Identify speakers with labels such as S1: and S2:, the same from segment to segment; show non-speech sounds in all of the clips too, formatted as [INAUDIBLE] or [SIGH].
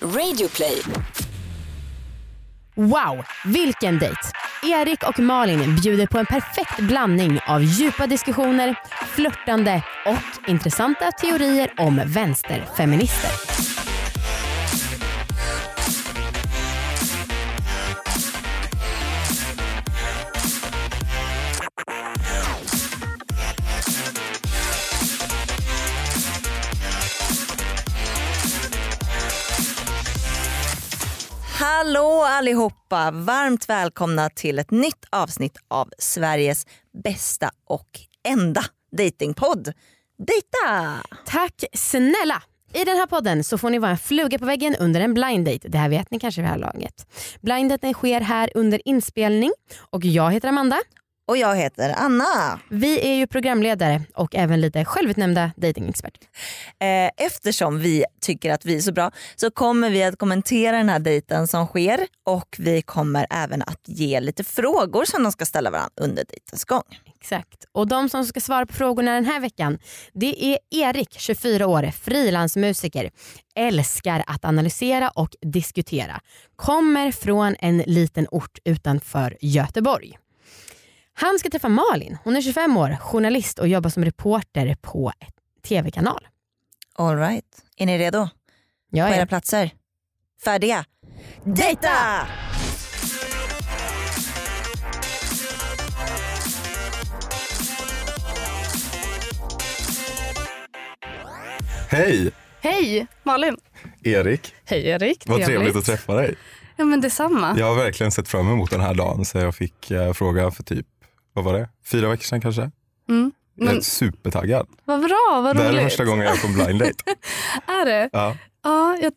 S1: Radioplay.
S2: Wow, vilken dejt! Erik och Malin bjuder på en perfekt blandning av djupa diskussioner, flörtande och intressanta teorier om vänsterfeminister.
S3: Hallå allihopa! Varmt välkomna till ett nytt avsnitt av Sveriges bästa och enda datingpodd. Dejta!
S2: Tack snälla! I den här podden så får ni vara en fluga på väggen under en blind date. Det här vet ni kanske vid det här laget. Blind daten sker här under inspelning och jag heter Amanda.
S3: Och jag heter Anna.
S2: Vi är ju programledare och även lite självutnämnda datingexperter.
S3: Eh, Eftersom vi tycker att vi är så bra så kommer vi att kommentera den här dejten som sker och vi kommer även att ge lite frågor som de ska ställa varandra under dejtens gång.
S2: Exakt. Och de som ska svara på frågorna den här veckan det är Erik, 24 år, frilansmusiker. Älskar att analysera och diskutera. Kommer från en liten ort utanför Göteborg. Han ska träffa Malin. Hon är 25 år, journalist och jobbar som reporter på en tv-kanal.
S3: All right. Är ni redo?
S2: Jag
S3: På
S2: är
S3: era platser? Färdiga? Dejta!
S4: Hej
S5: Hej Malin!
S4: Erik,
S5: Hej Erik!
S4: vad trevligt att träffa dig.
S5: Ja men detsamma.
S4: Jag har verkligen sett fram emot den här dagen så jag fick eh, fråga för typ, vad var det? Fyra veckor sedan kanske?
S5: Mm.
S4: Jag är
S5: Men
S4: supertaggad.
S5: vad bra, vad
S4: Det här
S5: roligt.
S4: är första gången jag är på en blind
S5: [LAUGHS]
S4: date.
S5: Är det?
S4: Ja.
S5: Ja, jag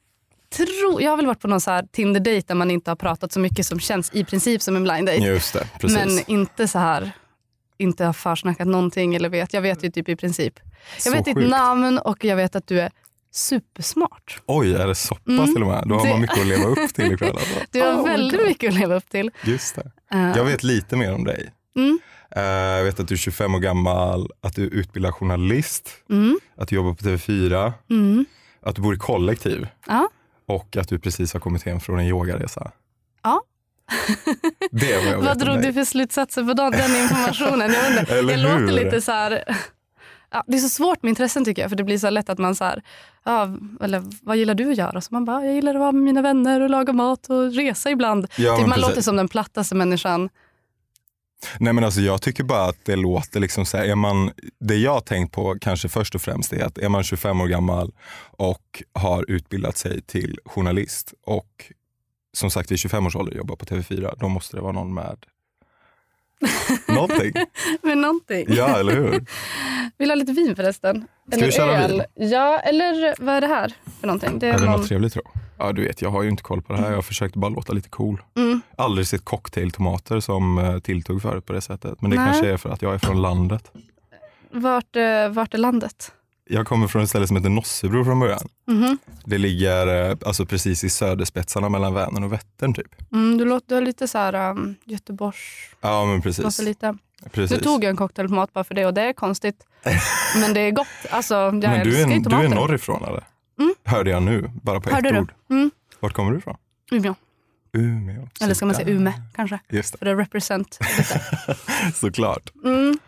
S5: tror, jag har väl varit på någon så här tinder date där man inte har pratat så mycket som känns i princip som en blind date.
S4: Just det, precis.
S5: Men inte så här, inte har försnackat någonting eller vet. Jag vet ju typ i princip. Jag
S4: Så
S5: vet ditt
S4: sjukt.
S5: namn och jag vet att du är supersmart.
S4: Oj, är det så pass
S5: Mm.
S4: till och med? Då har
S5: Det-
S4: man mycket att leva upp till ikväll.
S5: [LAUGHS]
S4: Alltså.
S5: Du har
S4: Oh my
S5: väldigt
S4: God.
S5: mycket att leva upp till.
S4: Just det.
S5: Eh,
S4: Jag vet lite mer om dig.
S5: Mm.
S4: Eh, Jag vet att du är 25 år gammal, att du är utbildad journalist,
S5: Mm,
S4: att du jobbar på TV4,
S5: mm.
S4: att du bor i kollektiv
S5: Ja.
S4: och att du precis har kommit hem från en yogaresa.
S5: Ja.
S4: [LAUGHS] Det är vad jag vet
S5: Vad
S4: om
S5: drog
S4: dig.
S5: du för slutsatser på
S4: [LAUGHS]
S5: den den informationen? Jag, undrar,
S4: Eller
S5: jag låter
S4: hur?
S5: lite så här... Ja, det är så svårt med intressen tycker jag, för det blir så lätt att man så här, ja, eller vad gillar du att göra? Så man bara, jag gillar att vara med mina vänner och laga mat och resa ibland.
S4: Ja,
S5: typ
S4: men
S5: man
S4: precis.
S5: låter som den plattaste människan.
S4: Nej men alltså jag tycker bara att det låter liksom så här, är man, det jag har tänkt på kanske först och främst är att är man 25 år gammal och har utbildat sig till journalist och som sagt vid 25 års ålder jobbar på TV4, då måste det vara någon
S5: [LAUGHS]
S4: med någonting.
S5: Men någonting.
S4: Ja, eller hur?
S5: Vill du ha lite vin förresten?
S4: Ska vi köra vin?
S5: Ja, eller vad är det här för någonting? Det är
S4: Är det
S5: någon...
S4: något trevligt tror jag? Ja, du vet, jag har ju inte koll på det här. Jag försökte bara låta lite cool.
S5: Mm.
S4: Aldrig sett cocktailtomater som eh, tilltugg förut på det sättet. Men det
S5: Nej.
S4: kanske är för att jag är från landet.
S5: vart, eh, vart är landet?
S4: Jag kommer från ett ställe som heter Nossebro från början.
S5: Mhm.
S4: Det ligger eh, alltså precis i söderspetsarna mellan Vänern och Vättern typ.
S5: Mm, du låter lite så här um, Göteborgs...
S4: Ja men precis.
S5: Låter lite.
S4: precis.
S5: Nu tog jag en cocktail på mat bara för det och det
S4: [LAUGHS]
S5: är konstigt. Men det är gott. Alltså, jag
S4: men du
S5: älskar ju
S4: är, du
S5: tomater.
S4: är norrifrån eller?
S5: Mm.
S4: Hörde jag nu, bara på
S5: Hörde
S4: ett
S5: du?
S4: ord.
S5: Mm.
S4: Vart kommer du ifrån?
S5: Umeå.
S4: Umeå.
S5: Eller ska man
S4: Så
S5: säga Ume kanske?
S4: där. Just
S5: För det är represent.
S4: det, såklart.
S5: Mm.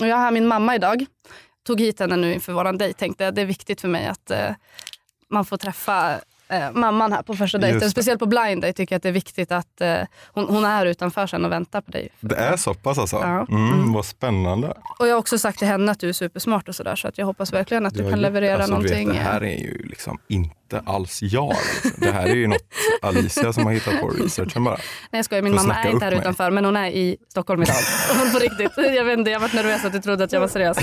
S5: Och jag har min mamma idag. Tog hit henne nu inför våran dejt. Tänkte att det är viktigt för mig att eh, man får träffa eh, mamman här på första
S4: Just
S5: dejten.
S4: det.
S5: Speciellt på blind date tycker jag att det är viktigt att eh, hon, hon är utanför sen och väntar på dig.
S4: Det är så pass alltså?
S5: Ja.
S4: Mm, Vad spännande.
S5: Och jag har också sagt till henne att du är supersmart och sådär. Så att jag hoppas verkligen att du,
S4: har
S5: kan
S4: gjort-
S5: leverera
S4: alltså, du
S5: någonting. eh,
S4: Vet, det här är ju liksom inte alls jag. Liksom. Det här är ju något Alicia som har hittat på researchen bara.
S5: Nej jag skojar, min
S4: För att
S5: mamma
S4: snacka
S5: är inte här
S4: upp mig.
S5: utanför men hon är i
S4: [LAUGHS]
S5: Stockholm idag. Hon på riktigt. Jag vet inte, jag varit nervös att du trodde att jag var seriös.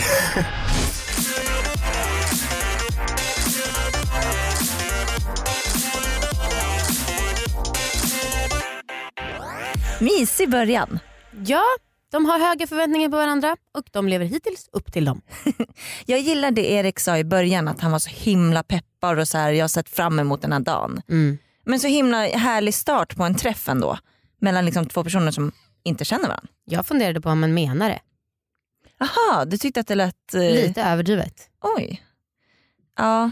S3: Mysig början.
S2: Ja, de har höga förväntningar på varandra och de lever hittills upp till dem.
S3: Jag gillar det Erik sa i början att han var så himla peppad och så här, jag har sett fram emot den här dagen.
S2: Mm.
S3: Men så himla härlig start på en träff ändå. Mellan liksom två personer som inte känner varandra.
S2: Jag funderade på om man menar det.
S3: Aha, du tyckte att det lät... eh,
S2: Lite överdrivet.
S3: Oj. Ja,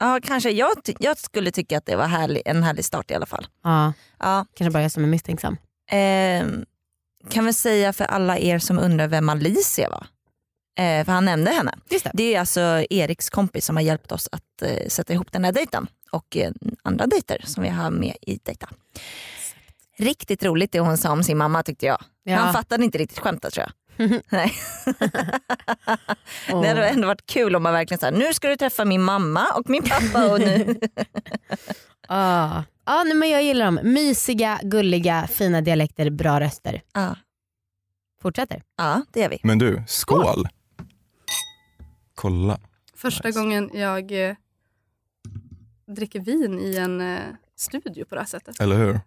S3: Ja, kanske. Jag, ty- jag skulle tycka att det var härlig, en härlig start i alla fall.
S2: Ja,
S3: Ja.
S2: kanske bara jag som är misstänksam.
S3: Ehm, kan väl säga för alla er som undrar vem Alicia var. Eh, för han nämnde henne.
S2: Just det.
S3: Det är alltså Eriks kompis som har hjälpt oss att eh, sätta ihop den här dejten och eh, andra dejter som vi har med i dejta. Riktigt roligt det hon sa om sin mamma tyckte jag.
S2: Ja.
S3: Han fattade inte riktigt skämtet
S2: [LAUGHS]
S3: tror jag. Nej.
S2: Åh.
S3: Det hade ändå varit kul om man verkligen sa nu ska du träffa min mamma och min pappa och
S2: [LAUGHS]
S3: nu
S2: Ja, ja nej, men jag gillar dem. Mysiga, gulliga, fina dialekter, bra röster.
S3: Ja,
S2: Fortsätter.
S3: ja det gör vi.
S4: Men du, skål! Kolla.
S5: Första gången jag eh, dricker vin i en eh, studio på det här sättet.
S4: Eller hur?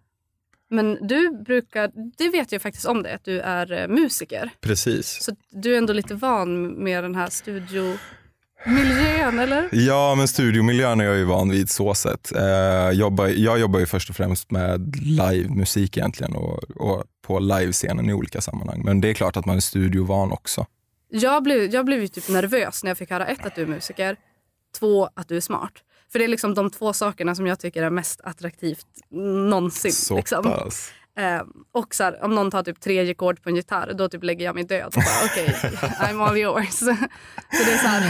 S5: Men du brukar, det vet jag faktiskt om dig, att du är eh, musiker.
S4: Precis.
S5: Så du är ändå lite van med den här studiomiljön, eller?
S4: Ja, men studiomiljön är jag ju van vid så sätt. Eh, jobbar, jag jobbar ju först och främst med livemusik egentligen och, och på livescenen i olika sammanhang. Men det är klart att man är studiovan också.
S5: Jag blev, jag blev ju typ nervös när jag fick höra ett att du är musiker, två att du är smart. För det är liksom de två sakerna som jag tycker är mest attraktivt någonsin.
S4: Så
S5: liksom.
S4: pass.
S5: Eh, och så här, om någon tar typ tre ackord på en gitarr, då typ lägger jag mig död. och bara, Okej, I'm all yours. [LAUGHS] så det är så här,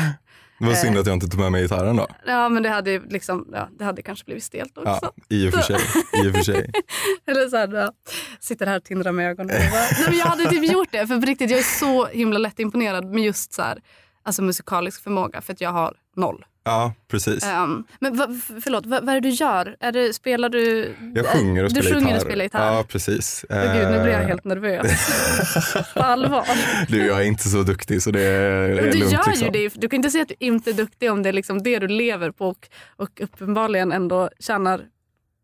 S4: Det var
S5: Eh.
S4: synd att jag inte tog med mig gitarren då.
S5: ja men det hade ju liksom, ja, det hade kanske blivit stelt också.
S4: Ja, i och för sig. I och för sig.
S5: [LAUGHS] Eller så här, ja, sitter här och tindrar med ögonen. Och bara, Nej, men jag hade typ gjort det, för på riktigt jag är så himla lätt imponerad med just så här, alltså musikalisk förmåga, för att jag har noll.
S4: Ja, precis.
S5: Ehm, men va, f- förlåt, va, vad är det du gör? Är det, spelar du?
S4: Jag sjunger och
S5: du
S4: spelar
S5: sjunger och
S4: gitarr.
S5: spelar gitarr.
S4: Ja, precis. Eh,
S5: Åh gud, nu blir jag helt nervös. på allvar.
S4: [LAUGHS] Du, jag är inte så duktig så det är, det är
S5: Men du
S4: lugnt.
S5: gör
S4: liksom.
S5: ju det. Du kan inte säga att du inte är duktig om det är liksom det du lever på och, och uppenbarligen ändå tjänar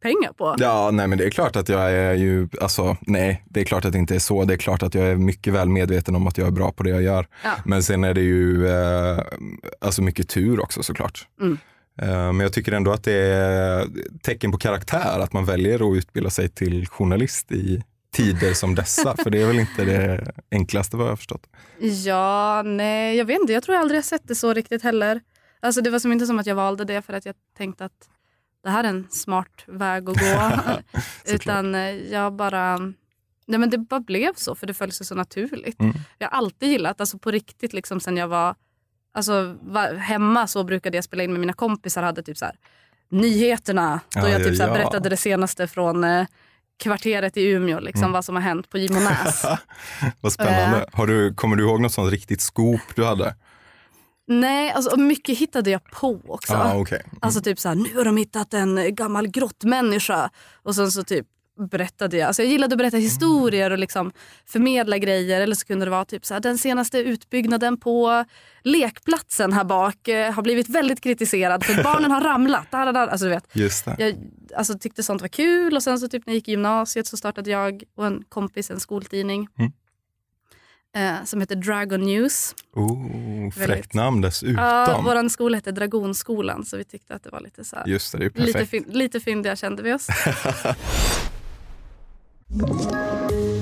S5: pengar på.
S4: Ja, nej men det är klart att jag är ju, alltså nej, det är klart att det inte är så. Det är klart att jag är mycket väl medveten om att jag är bra på det jag gör.
S5: Ja.
S4: Men sen är det ju eh, alltså mycket tur också såklart.
S5: Mm.
S4: Eh, men jag tycker ändå att det är tecken på karaktär att man väljer att utbilda sig till journalist i tider som
S5: [LAUGHS]
S4: dessa. För det är väl inte det enklaste vad jag har förstått.
S5: Ja, nej, jag vet inte. Jag tror jag aldrig har sett det så riktigt heller. Alltså det var som inte som att jag valde det för att jag tänkte att det här är en smart
S4: [LAUGHS]
S5: väg att [LAUGHS] gå. Utan eh, jag bara... Nej men det bara blev så för det föll sig så naturligt.
S4: Mm.
S5: Jag har alltid gillat, alltså på riktigt liksom sen jag var Alltså va- hemma så brukade jag spela in med mina kompisar hade typ så här nyheterna. Då
S4: Ja,
S5: jag typ
S4: ja,
S5: så här
S4: ja.
S5: berättade det senaste från eh, kvarteret i Umeå, liksom,
S4: Mm.
S5: vad som har hänt
S4: [LAUGHS]
S5: på Gimonäs.
S4: Vad
S5: Eh.
S4: spännande. Har du, kommer du ihåg något sånt riktigt scoop du hade?
S5: Nej, alltså och mycket hittade jag på också.
S4: Ja, ah, okej.
S5: Alltså typ så här, nu har de hittat en gammal grottmänniska. Och sen så typ berättade jag. Alltså jag gillade att berätta historier och liksom förmedla grejer. Eller så kunde det vara typ så här, den senaste utbyggnaden på lekplatsen här bak eh, har blivit väldigt kritiserad för att barnen har ramlat. Där, där, där. Alltså du vet,
S4: Just det.
S5: jag alltså, tyckte sånt var kul och sen så typ när jag gick i gymnasiet så startade jag och en kompis en skoltidning.
S4: Mm.
S5: Eh, som heter Dragon News.
S4: Oh,
S5: Väldigt.
S4: fräckt namn dessutom.
S5: Ja, vår skola hette Dragonskolan så vi tyckte att det var lite så här,
S4: Just det, det är ju
S5: lite,
S4: perfekt.
S5: fin, lite fyndiga kände vi
S4: [LAUGHS]
S5: oss.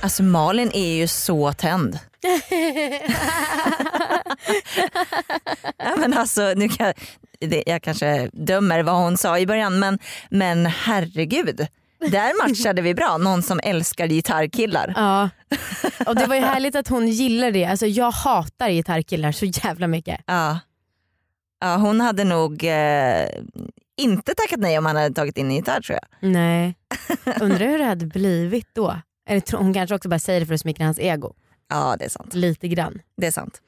S3: Alltså Malin är ju så tänd. ja, men alltså, nu kan, det, jag kanske dömer vad hon sa i början men, men herregud. Där matchade vi bra, någon som älskar gitarrkillar.
S2: Ja. [LAUGHS] Och det var ju härligt att hon gillar det. Alltså, jag hatar gitarrkillar så jävla mycket.
S3: Ja. Ja, hon hade nog eh, inte tackat nej om han hade tagit in en gitarr tror jag.
S2: Nej. Undrar hur det hade blivit då. Eller tro- hon kanske också bara säger det för att smickra hans ego.
S3: Ja det är sant.
S2: Lite grann.
S3: Det är sant.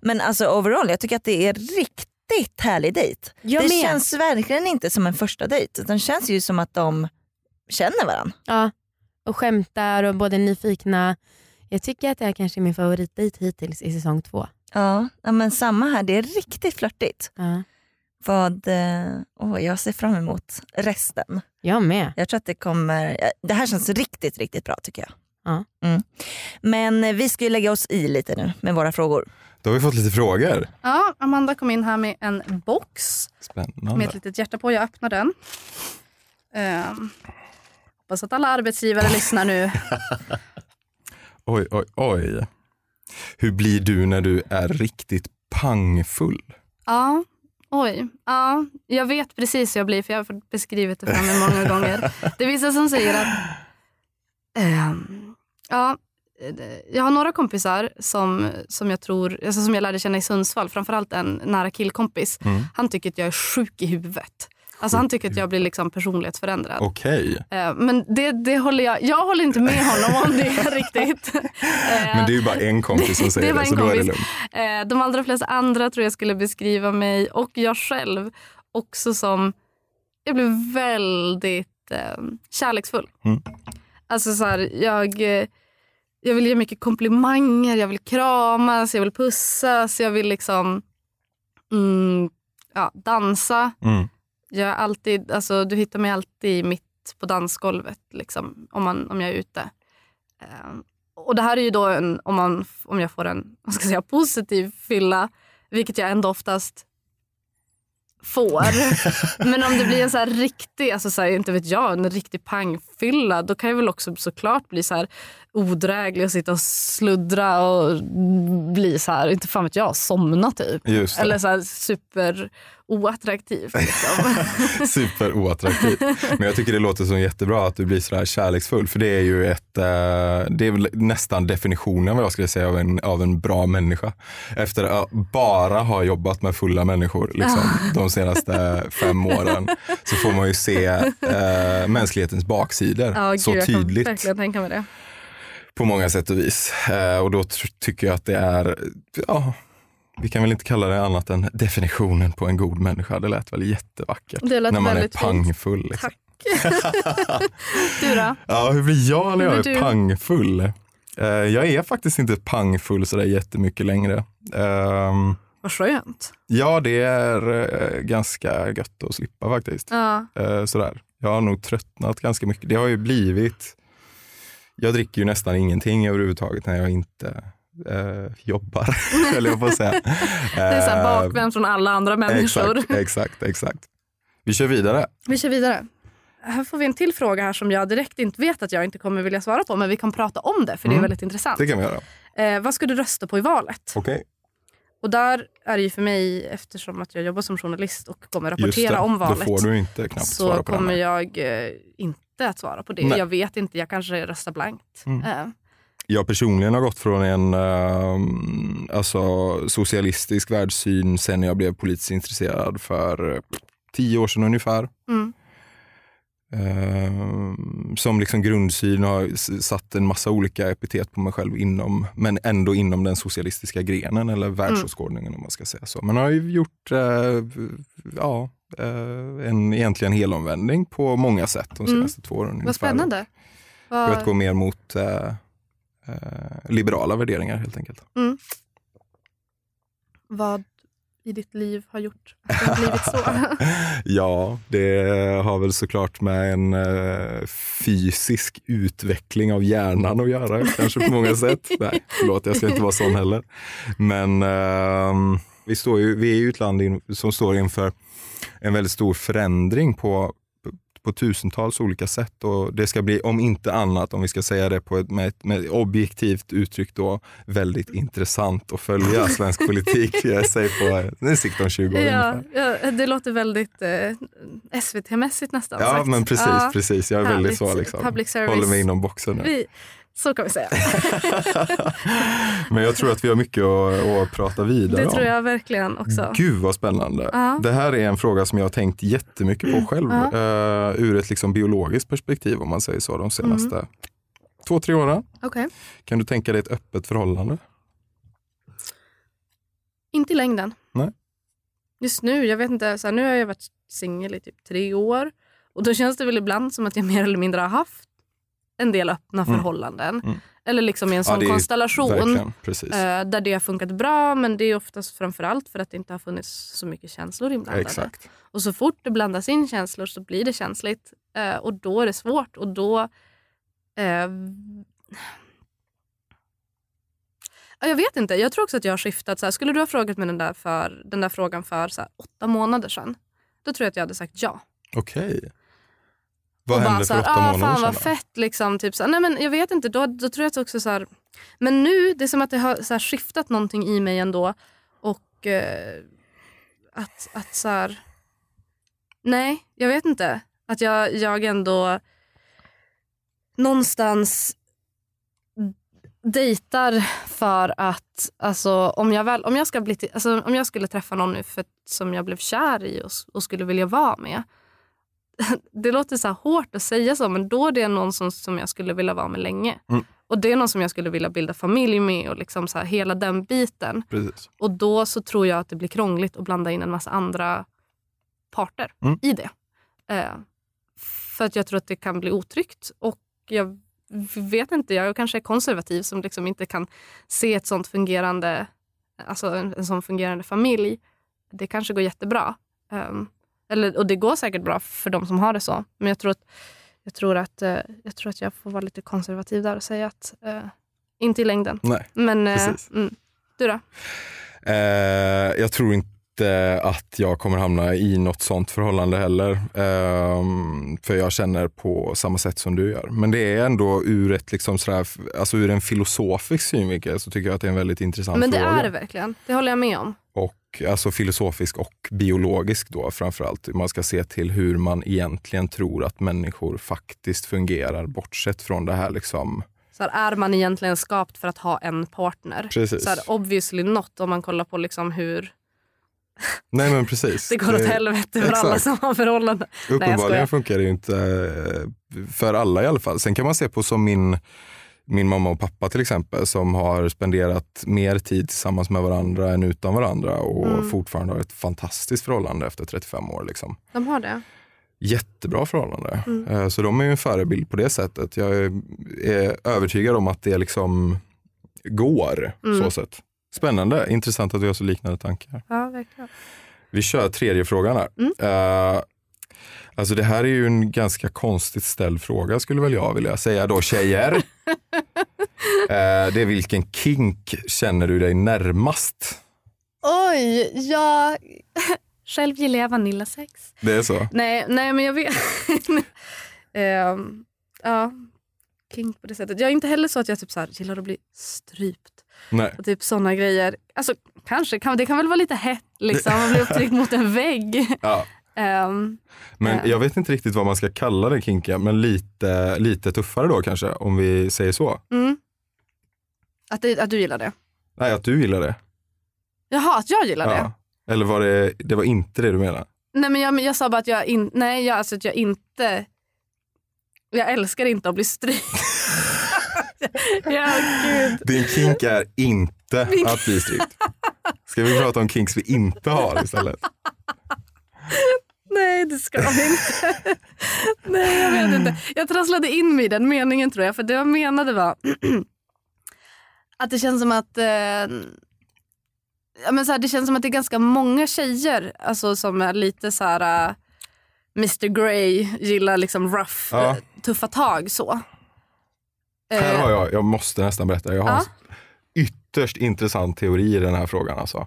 S3: Men alltså overall, jag tycker att det är riktigt härlig dejt.
S2: Jag
S3: det
S2: med.
S3: känns verkligen inte som en första dejt utan det känns ju som att de känner varandra.
S2: Ja. och skämtar och båda är nyfikna. Jag tycker att det här kanske är min favoritdejt hittills i säsong två.
S3: Ja, ja, men samma här. Det är riktigt flörtigt.
S2: Ja.
S3: Vad, eh, åh, jag ser fram emot resten.
S2: Jag med.
S3: Jag tror att det kommer... ja, Det här känns riktigt, riktigt bra tycker jag.
S2: Ja.
S3: Mm. Men eh, vi ska ju lägga oss i lite nu med våra frågor.
S4: Då har vi fått lite frågor.
S5: Ja, Amanda kom in här med en box med ett
S4: Spännande.
S5: litet hjärta på. Jag öppnar den. Ehm, hoppas att alla arbetsgivare lyssnar nu.
S4: Oj, oj, oj. Hur blir du när du är riktigt pangfull?
S5: Ja, oj. Ja, jag vet precis hur jag blir för jag har fått beskrivet det för mig många [LAUGHS] gånger. Det är vissa som säger att... ehm, ja, det- jag har några kompisar som, som jag tror, alltså som jag lärde känna i Sundsvall, framförallt en nära killkompis.
S4: Mm.
S5: Han tycker att jag är sjuk i huvudet. Alltså han tycker att jag blir liksom personlighetsförändrad.
S4: Okej,
S5: Eh, Men det, det håller jag, jag håller inte med honom om [LAUGHS] det riktigt. Eh,
S4: men det är ju bara en kompis som
S5: [LAUGHS] Det
S4: säger
S5: var
S4: det,
S5: en
S4: så då är det
S5: kompis.
S4: lugnt.
S5: Eh, De allra flesta andra tror jag skulle beskriva mig och jag själv också som... Jag blev väldigt eh, kärleksfull.
S4: Mm.
S5: Alltså så här, jag, eh, jag vill ge mycket komplimanger, jag vill kramas, jag vill pussas, jag vill liksom mm, ja, dansa.
S4: Mm.
S5: Jag är alltid, alltså, du hittar mig alltid mitt på dansgolvet liksom, om, man, om jag är ute. Eh, och det här är ju då en, om, man, om jag får en [LAUGHS] vad ska jag säga, positiv fylla, vilket jag ändå oftast
S4: [LAUGHS]
S5: får. Men om det blir en så här riktig, alltså så här, inte vet jag, en riktig pangfylla, då kan jag väl också såklart bli så här odräglig och sitta och sluddra och bli så här, inte fan vet jag, somna typ.
S4: Mm, Just det.
S5: Eller så här super
S4: [LAUGHS]
S5: oattraktiv. Liksom. [LAUGHS]
S4: Super oattraktivt. Men jag tycker det låter som jättebra att du blir sådär kärleksfull. För det är ju ett, eh, det är väl nästan definitionen vad jag skulle säga av en, av en bra människa. Efter att bara ha jobbat med fulla människor
S5: [LAUGHS]
S4: liksom, de senaste fem åren så får man ju se eh, mänsklighetens baksidor
S5: Ja, gud,
S4: så
S5: jag kan
S4: tydligt
S5: verkligen tänka mig det.
S4: på många sätt och vis. Eh, och då tr- tycker jag att det är, ja, vi kan väl inte kalla det annat än definitionen på en god människa. Det lät väl jättevackert
S5: Det lät
S4: när man är
S5: väldigt fint.
S4: pangfull. Liksom.
S5: Tack. [LAUGHS] Du då?
S4: Ja, hur blir jag när
S5: Hur
S4: jag är
S5: blir du?
S4: pangfull? Eh, jag är faktiskt inte pangfull sådär jättemycket längre. Ehm,
S5: Vad skönt.
S4: ja, det är eh, ganska gött att slippa faktiskt.
S5: Ja.
S4: Eh, sådär. Jag har nog tröttnat ganska mycket. Det har ju blivit... Jag dricker ju nästan ingenting överhuvudtaget när jag inte eh, jobbar, [LAUGHS] höll jag på att säga. Eh,
S5: Det är så här bakvänt från alla andra människor.
S4: Exakt, exakt, exakt. Vi kör vidare.
S5: [LAUGHS] Vi kör vidare. Här får vi en till fråga här som jag direkt inte vet att jag inte kommer vilja svara på men vi kan prata om det för det är
S4: Mm.
S5: väldigt intressant.
S4: Det kan vi göra.
S5: Eh, vad ska du rösta på i valet?
S4: Okej.
S5: Och där är det ju för mig, eftersom att jag jobbar som journalist och kommer
S4: Just det.
S5: rapportera om
S4: Då
S5: valet,
S4: får du inte knappt svara
S5: så
S4: på den
S5: kommer
S4: här.
S5: jag eh, inte att svara på det.
S4: Nej.
S5: Jag vet inte, jag kanske röstar blankt.
S4: Mm.
S5: Eh,
S4: jag personligen har gått från en ehm, alltså, socialistisk världssyn sen jag blev politiskt intresserad för eh, tio år sedan ungefär.
S5: Mm.
S4: Ehm, som liksom grundsyn har s- satt en massa olika epitet på mig själv inom, men ändå inom den socialistiska grenen eller
S5: Mm.
S4: världsåskådningen om man ska säga så. Men har ju gjort eh, ja, eh, en egentligen helomvändning på många sätt de
S5: Mm.
S4: senaste två åren. ungefär.
S5: vad spännande.
S4: För
S5: Vad-
S4: att gå mer mot eh, eh, liberala värderingar helt enkelt.
S5: vad i ditt liv har gjort att det har blivit
S4: [LAUGHS]
S5: så.
S4: ja, det har väl såklart med en eh, fysisk utveckling av hjärnan att göra kanske på många sätt. Nej, förlåt, jag ska inte vara sån heller. Men ehm, vi, står ju, vi är ju ett land in, som står inför en väldigt stor förändring på på tusentals olika sätt och det ska bli, om inte annat, om vi ska säga det på ett, med ett med ett objektivt uttryck då, väldigt intressant att följa svensk politik, jag säger på nu sikt om 20 år
S5: ja,
S4: ungefär.
S5: ja, det låter väldigt eh, SVT-mässigt nästan.
S4: Ja
S5: sagt.
S4: men precis,
S5: Ja,
S4: precis. jag är väldigt så
S5: härligt.
S4: liksom,
S5: Public service.
S4: håller mig inom boxen nu.
S5: vi, så kan
S4: [LAUGHS]
S5: vi säga.
S4: Men jag tror att vi har mycket att, att prata vidare
S5: Det tror
S4: om.
S5: jag verkligen också.
S4: Gud vad spännande.
S5: Ja.
S4: Det här är en fråga som jag har tänkt jättemycket på själv
S5: Ja.
S4: eh, ur ett liksom biologiskt perspektiv om man säger så
S5: Mm.
S4: de senaste två, tre åren.
S5: Okej.
S4: Kan du tänka dig ett öppet förhållande?
S5: Inte i längden.
S4: Nej.
S5: Just nu, jag vet inte, så här, nu har jag varit singel i typ tre år och då känns det väl ibland som att jag mer eller mindre har haft en del öppna förhållanden. Eller liksom i en
S4: Mm. Ja,
S5: sån
S4: det är-
S5: konstellation.
S4: Verkligen, precis.
S5: eh, Där det har funkat bra men det är oftast framförallt för att det inte har funnits så mycket känslor inblandade.
S4: Exakt.
S5: Och så fort det blandas in känslor så blir det känsligt. Eh, och då är det svårt. Och då... Eh, ja, jag vet inte. Jag tror också att jag har skiftat. Så här, skulle du ha frågat mig den där, för, den där frågan för så här, åtta månader sedan. Då tror jag att jag hade sagt ja.
S4: Okej. Vad
S5: och bara
S4: hände
S5: så
S4: för
S5: här,
S4: åtta
S5: "Ah,
S4: månader
S5: fan vad
S4: sedan?
S5: fett liksom. Typ, så här, nej men jag vet inte. Då, då tror jag att också så här, Men nu, det är som att det har så här, skiftat någonting i mig ändå. Och eh, att, att så här, Nej, jag vet inte. Att jag, jag ändå någonstans dejtar för att alltså, om, jag väl, om, jag ska bli till, alltså, om jag skulle träffa någon nu för, som jag blev kär i och, s- och skulle vilja vara med. Det låter så här hårt att säga så men då är det någon som, som jag skulle vilja vara med länge.
S4: Mm.
S5: Och det är någon som jag skulle vilja bilda familj med och liksom så här, hela den biten.
S4: Precis.
S5: Och då så tror jag att det blir krångligt att blanda in en massa andra parter
S4: Mm.
S5: i det. Eh, för att jag tror att det kan bli otryggt. Och jag vet inte, jag kanske är konservativ som liksom inte kan se ett sånt fungerande, alltså en, en sån fungerande familj. Det kanske går jättebra. Ehm, eller, och det går säkert bra för de som har det så. Men jag tror att jag, tror att, eh, jag, tror att jag får vara lite konservativ där och säga att eh, inte i längden.
S4: Nej.
S5: Men eh,
S4: Precis.
S5: mm. du då?
S4: Eh, jag tror inte att jag kommer hamna i något sånt förhållande heller. Ehm, för jag känner på samma sätt som du gör. Men det är ändå ur, ett liksom sådär, alltså ur en filosofisk synvinkel så tycker jag att det är en väldigt intressant
S5: Men det
S4: fråga.
S5: är det verkligen. Det håller jag med om.
S4: och, alltså filosofisk och biologisk då framförallt. Man ska se till hur man egentligen tror att människor faktiskt fungerar bortsett från det här liksom.
S5: Så här, är man egentligen skapt för att ha en partner?
S4: Precis.
S5: Så här, obviously not om man kollar på liksom hur
S4: Nej men precis.
S5: det går åt helvete för alla
S4: exakt.
S5: som har förhållanden. Nej, jag
S4: Uppenbarligen
S5: skojar.
S4: funkar det ju inte eh, för alla i alla fall. Sen kan man se på som min, min mamma och pappa till exempel som har spenderat mer tid tillsammans med varandra än utan varandra och
S5: Mm.
S4: fortfarande har ett fantastiskt förhållande efter 35 år. Liksom.
S5: De har det.
S4: Jättebra förhållande.
S5: Mm.
S4: Eh, Så de är ju en förebild på det sättet. Jag är- är övertygad om att det liksom går.
S5: Mm.
S4: så sätt. Spännande, intressant att vi har så liknande tankar.
S5: Ja, verkligen.
S4: Vi kör tredje frågan här. Eh, alltså det här är ju en ganska konstigt ställd fråga skulle väl jag vilja säga då tjejer. Eh, det är vilken kink känner du dig närmast?
S5: Oj, jag... Själv gillar jag vanillasex.
S4: Det är så?
S5: Nej, nej men jag vet... [LAUGHS] Ehm, ja, kink på det sättet. Jag är inte heller så att jag typ så här, gillar att bli strypt.
S4: Nej.
S5: Och typ såna grejer. Alltså kanske, kan, det kan väl vara lite hett liksom. Man blir upptryckt mot en vägg.
S4: Ja.
S5: Ehm,
S4: Men jag vet inte riktigt vad man ska kalla den kinken, men lite, lite tuffare då kanske om vi säger så.
S5: Mm. Att, det, att du gillar det?
S4: Nej, att du gillar det.
S5: Jaha, att jag gillar det?
S4: Ja. Eller var det, det var inte det du menade?
S5: Nej, men jag, men jag sa bara att jag, in, nej, jag, alltså, att jag inte... Jag älskar inte att bli strypt. [LAUGHS] ja, gud.
S4: Din kink är inte att bli strypt. Ska vi prata om kinks vi inte har istället?
S5: Nej, det ska vi inte. [LAUGHS] nej, jag vet inte. Jag trasslade in mig i den meningen tror jag. För det jag menade var [CLEARS THROAT] att det känns som att... Eh, ja, men så här, det känns som att det är ganska många tjejer alltså, som är lite så här... eh, Mr Grey gillar liksom rough,
S4: Ja.
S5: eh, tuffa tag så.
S4: Här
S5: Eh,
S4: har jag, jag måste nästan berätta, jag har en ytterst intressant teori i den här frågan. Alltså.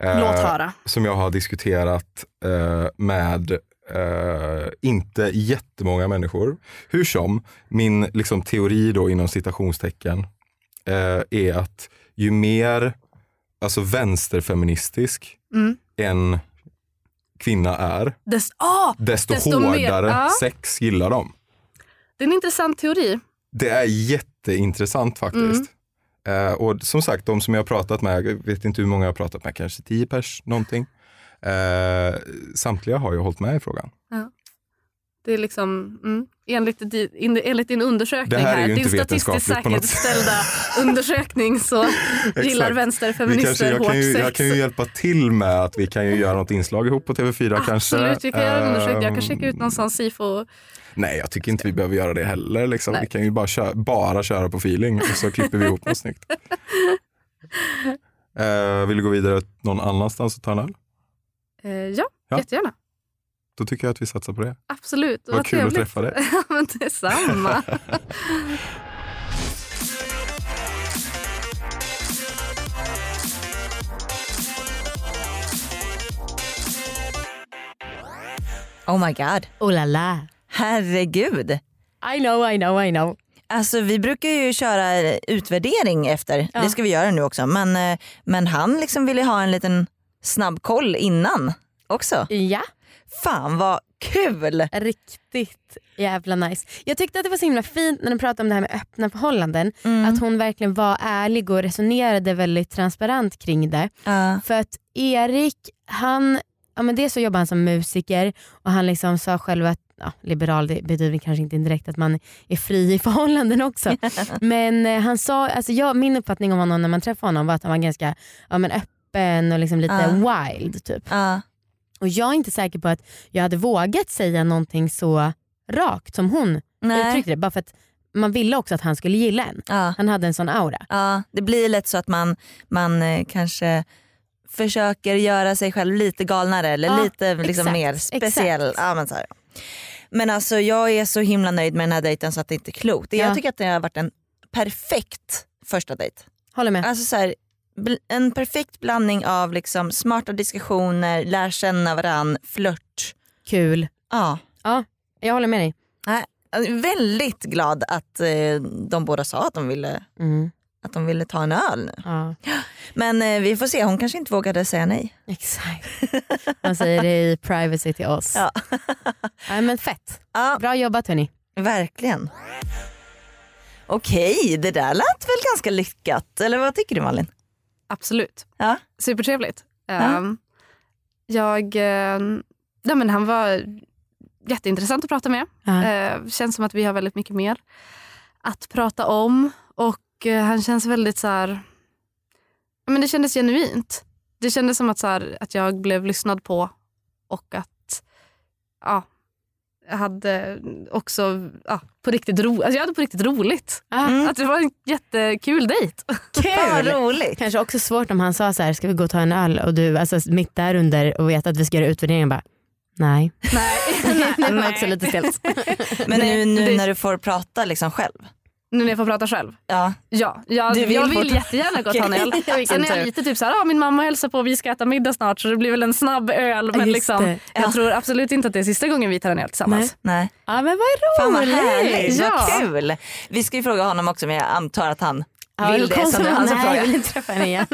S4: Eh,
S5: Låt höra.
S4: Som jag har diskuterat eh, med eh, inte jättemånga människor. Hur som, min liksom, teori då inom citationstecken eh, är att ju mer alltså, vänsterfeministisk
S5: Mm.
S4: en kvinna är,
S5: Des, ah,
S4: desto,
S5: Desto mer,
S4: hårdare
S5: ja.
S4: sex gillar de.
S5: det är en intressant teori.
S4: Det är jätteintressant faktiskt. Eh, och som sagt, de som jag har pratat med, jag vet inte hur många jag har pratat med, kanske tio pers någonting. Eh, samtliga har ju hållit med i frågan.
S5: Det är liksom, mm, enligt, di, in, enligt din undersökning
S4: Det här är ju
S5: din
S4: inte
S5: statistiskt
S4: vetenskapligt på något sätt. [LAUGHS]
S5: säkerställda undersökning så gillar
S4: Exakt. Vi kanske,
S5: vänsterfeminister
S4: jag,
S5: hårt
S4: kan ju,
S5: sex.
S4: jag kan ju hjälpa till med att vi kan ju göra något inslag ihop på TV4 kanske. eh,
S5: Absolut, vi kan göra en undersökning. Jag kan
S4: Ehm,
S5: checka ut någon sån sifo
S4: Nej, jag tycker inte vi behöver göra det heller. Liksom. Vi kan ju bara köra, bara köra på feeling och så klipper vi ihop något
S5: [LAUGHS]
S4: snyggt. Eh, vill du gå vidare någon annanstans och ta en öl?
S5: Eh, ja,
S4: Ja.
S5: jättegärna.
S4: Då tycker jag att vi satsar på det.
S5: Absolut.
S4: Vad kul att träffa dig.
S5: [LAUGHS] Ja, men
S4: [LAUGHS]
S5: detsamma.
S3: Oh my god.
S2: Oh la la.
S3: Herregud.
S2: I know, I know, I know.
S3: Alltså vi brukar ju köra eh, utvärdering efter. Det ska vi göra nu också. Men, eh, men han liksom ville ha en liten snabb koll innan också.
S2: Ja,
S3: Fan vad kul.
S2: riktigt jävla nice. Jag tyckte att det var så himla fint när de pratade om det här med öppna förhållanden. Att hon verkligen var ärlig och resonerade väldigt transparent kring det.
S3: Ja.
S2: För att Erik, han, ja men dels så jobbar han som musiker och han liksom sa själv att Ja, liberal det betyder kanske inte direkt att man är fri i förhållanden också. Men eh, han sa, alltså jag, min uppfattning om honom när man träffade honom var att han var ganska ja, men öppen och liksom lite wild. typ.
S3: Ja.
S2: Och jag är inte säker på att jag hade vågat säga någonting så rakt som hon
S3: Nej.
S2: uttryckte det. Bara för att man ville också att han skulle gilla en.
S3: Ja.
S2: Han hade en sån aura.
S3: Ja, det blir lätt så att man, man eh, kanske försöker göra sig själv lite galnare eller
S2: Ja,
S3: lite liksom
S2: exakt,
S3: mer speciell.
S2: exakt.
S3: Ja, men, så här. men alltså jag är så himla nöjd med den här dejten så att det inte är klokt.
S2: Ja.
S3: Jag tycker att det har varit en perfekt första dejt.
S2: Håller med.
S3: Alltså så här, bl- en perfekt blandning av liksom smarta diskussioner, lär känna varann, flört.
S2: Kul.
S3: Ja.
S2: Jag håller med dig.
S3: Nej, jag är Väldigt glad att eh, de båda sa att de ville,
S2: Mm.
S3: att de ville ta en öl nu. [LAUGHS]
S2: Ja.
S3: Men eh, vi får se, hon kanske inte vågade säga nej.
S2: Exakt. Man säger det i privacy till oss.
S3: Ja.
S2: Nej, men fett.
S3: Ja.
S2: Bra jobbat hörni.
S3: Verkligen. Okej, det där lät väl ganska lyckat. Eller vad tycker du Malin?
S5: Absolut.
S3: Ja.
S5: Supertrevligt.
S3: Ja.
S5: Ehm, Jag, eh, nej men han var jätteintressant att prata med.
S2: Ja.
S5: Eh, känns som att vi har väldigt mycket mer att prata om. Och eh, han känns väldigt så här... ja, Men det kändes genuint. Det kändes som att, så här, att jag blev lyssnad på och att ja, jag hade också ja, på riktigt ro, alltså jag hade på riktigt roligt. Att det var en jättekul dejt.
S3: Vad roligt.
S2: Kanske också svårt om han sa så här, ska vi gå och ta en öl och du alltså, mitt där under och vet att vi ska göra utvärderingen bara, nej. [LAUGHS]
S3: [LAUGHS]
S2: Nej. det var också lite stelt.
S3: Men nu, nu
S5: det-
S3: när du får prata liksom själv.
S5: Nu när jag får prata själv.
S3: Ja.
S5: Ja, jag
S3: Du
S5: vill,
S3: vill
S5: jag vill
S3: fort-
S5: jättegärna gå och ta en öl.
S2: Okej.
S5: Sen är
S2: Vilken tur.
S5: jag lite typ såhär, ah, min mamma hälsar på och vi ska äta middag snart så det blir väl en snabb öl. Men
S2: just
S5: liksom,
S2: det.
S5: jag tror absolut inte att det är sista gången vi tar en öl tillsammans.
S3: Nej.
S2: Ja men vad
S3: Fan vad
S2: roligt.
S3: härligt,
S5: Ja.
S3: vad kul. Vi ska ju fråga honom också men jag antar att han
S2: Ja,
S3: vill
S2: då
S3: det.
S2: kom
S3: Så nu alltså, är han som
S2: nej,
S3: frågar.
S2: jag alltså vill inte träffa henne [LAUGHS] igen.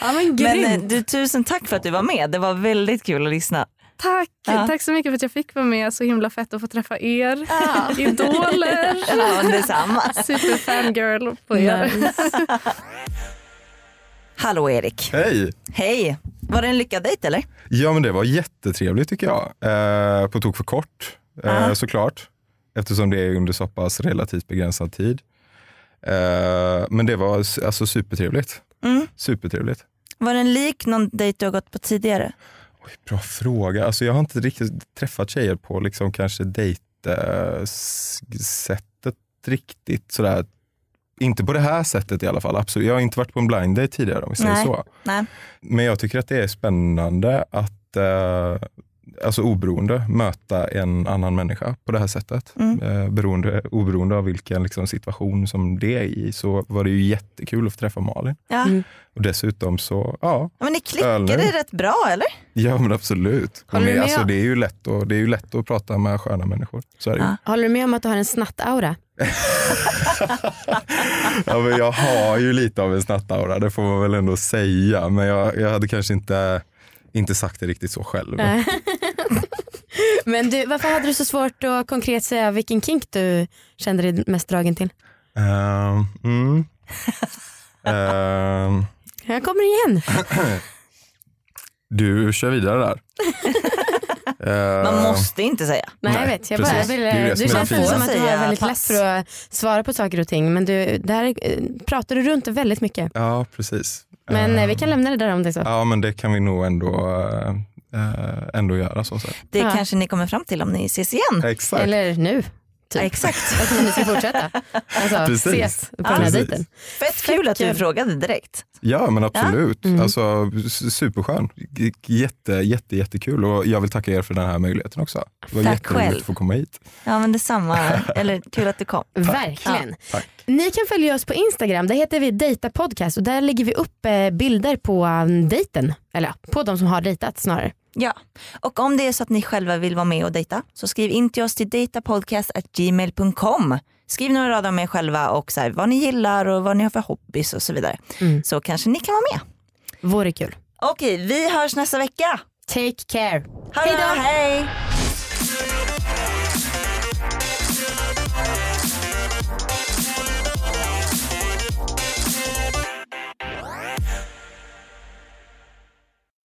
S2: ja men
S3: Men
S2: grymt.
S3: eh, du, tusen tack för att du var med. Det var väldigt kul att lyssna.
S5: Tack!
S3: Ja.
S5: Tack så mycket för att jag fick vara med. Så himla fett att få träffa er. [LAUGHS] Idoler.
S3: [LAUGHS] Ja, detsamma.
S5: Superfangirl på er.
S3: Hallå Erik.
S4: Hej!
S3: Hej. Var det en lyckad dejt eller?
S4: Ja men det var jättetrevligt tycker jag. Eh, på tok för kort eh, såklart. Eftersom det är under så pass relativt begränsad tid. Eh, men det var s- alltså supertrevligt. Supertrevligt.
S3: Var den lik någon dejt du har gått på tidigare?
S4: Oj, bra fråga. Alltså, jag har inte riktigt träffat tjejer på liksom, kanske dejtsättet riktigt. Sådär. Inte på det här sättet i alla fall. Absolut. Jag har inte varit på en blind date tidigare om vi säger
S3: Nej.
S4: så.
S3: Nej.
S4: Men jag tycker att det är spännande att eh, alltså oberoende möta en annan människa på det här sättet.
S3: Mm.
S4: Eh, beroende, oberoende av vilken liksom, situation som det är i så var det ju jättekul att få träffa Malin.
S3: Ja.
S2: Mm.
S4: Och dessutom så, ja,
S3: Ja, Men ni
S4: Öl nu.
S3: klickade rätt bra eller?
S4: Ja men absolut.
S2: Håller du
S4: Men
S2: med?
S4: alltså, det, är ju lätt att, det är ju lätt att prata med sköna människor. Så är det ju.
S3: Ja.
S2: Håller du med om att du har en snattaura?
S4: ja, men jag har ju lite av en snattaura, det får man väl ändå säga. Men jag, jag hade kanske inte, inte sagt det riktigt så själv.
S2: Nej. Men du, varför hade du så svårt att konkret säga vilken kink du kände dig mest dragen till?
S4: Ehm, mm. Ehm,
S2: Jag kommer igen.
S4: du kör vidare där. Ehm,
S3: Man måste inte säga.
S2: Nej, jag
S4: Nej,
S2: vet. Jag
S4: precis.
S2: bara
S4: Det är ju
S2: ville,
S4: det som
S2: du
S4: är
S2: känns
S4: det fina.
S2: som att du har
S3: Säga
S2: väldigt lätt
S3: pass.
S2: för att eh, svara på saker och ting men du, där eh, pratar du runt väldigt mycket.
S4: Ja, precis.
S2: Men eh,
S4: Ehm,
S2: vi kan lämna det där om det är så.
S4: Ja, men det kan vi nog ändå eh, eh, ändå göra. så sätt.
S3: Det
S2: Ja.
S3: kanske ni kommer fram till om ni ses igen.
S4: Exakt.
S2: Eller nu.
S3: Ja, exakt. [LAUGHS]
S2: Jag tror ni ska
S4: [LAUGHS]
S2: fortsätta. Alltså,
S4: Precis.
S2: ses på den här
S4: Precis.
S2: dejten.
S3: Fett kul att du frågade direkt.
S4: Ja men absolut.
S2: Ja. Mm.
S4: Alltså, s- superskön. J- Jätte, jätte, jättekul och jag vill tacka er för den här möjligheten också. Det var
S3: Tack
S4: jätteroligt
S3: själv.
S4: att få komma hit.
S3: Ja men detsamma, eller kul att du kom.
S2: Verkligen.
S4: Tack.
S2: Ni kan följa oss på Instagram. Där heter vi Dejta Podcast och där lägger vi upp eh, bilder på um, dejten. Eller ja, på de som har dejtat snarare.
S3: Ja, och om det är så att ni själva vill vara med och dejta så skriv in till oss till datapodcast.gmail.com. Skriv några rader om er själva och så här, vad ni gillar och vad ni har för hobbys och så vidare.
S2: Mm.
S3: Så kanske ni kan vara med.
S2: Vore kul.
S3: Okej, vi hörs nästa vecka.
S2: Take care.
S3: Ha det bra, hej!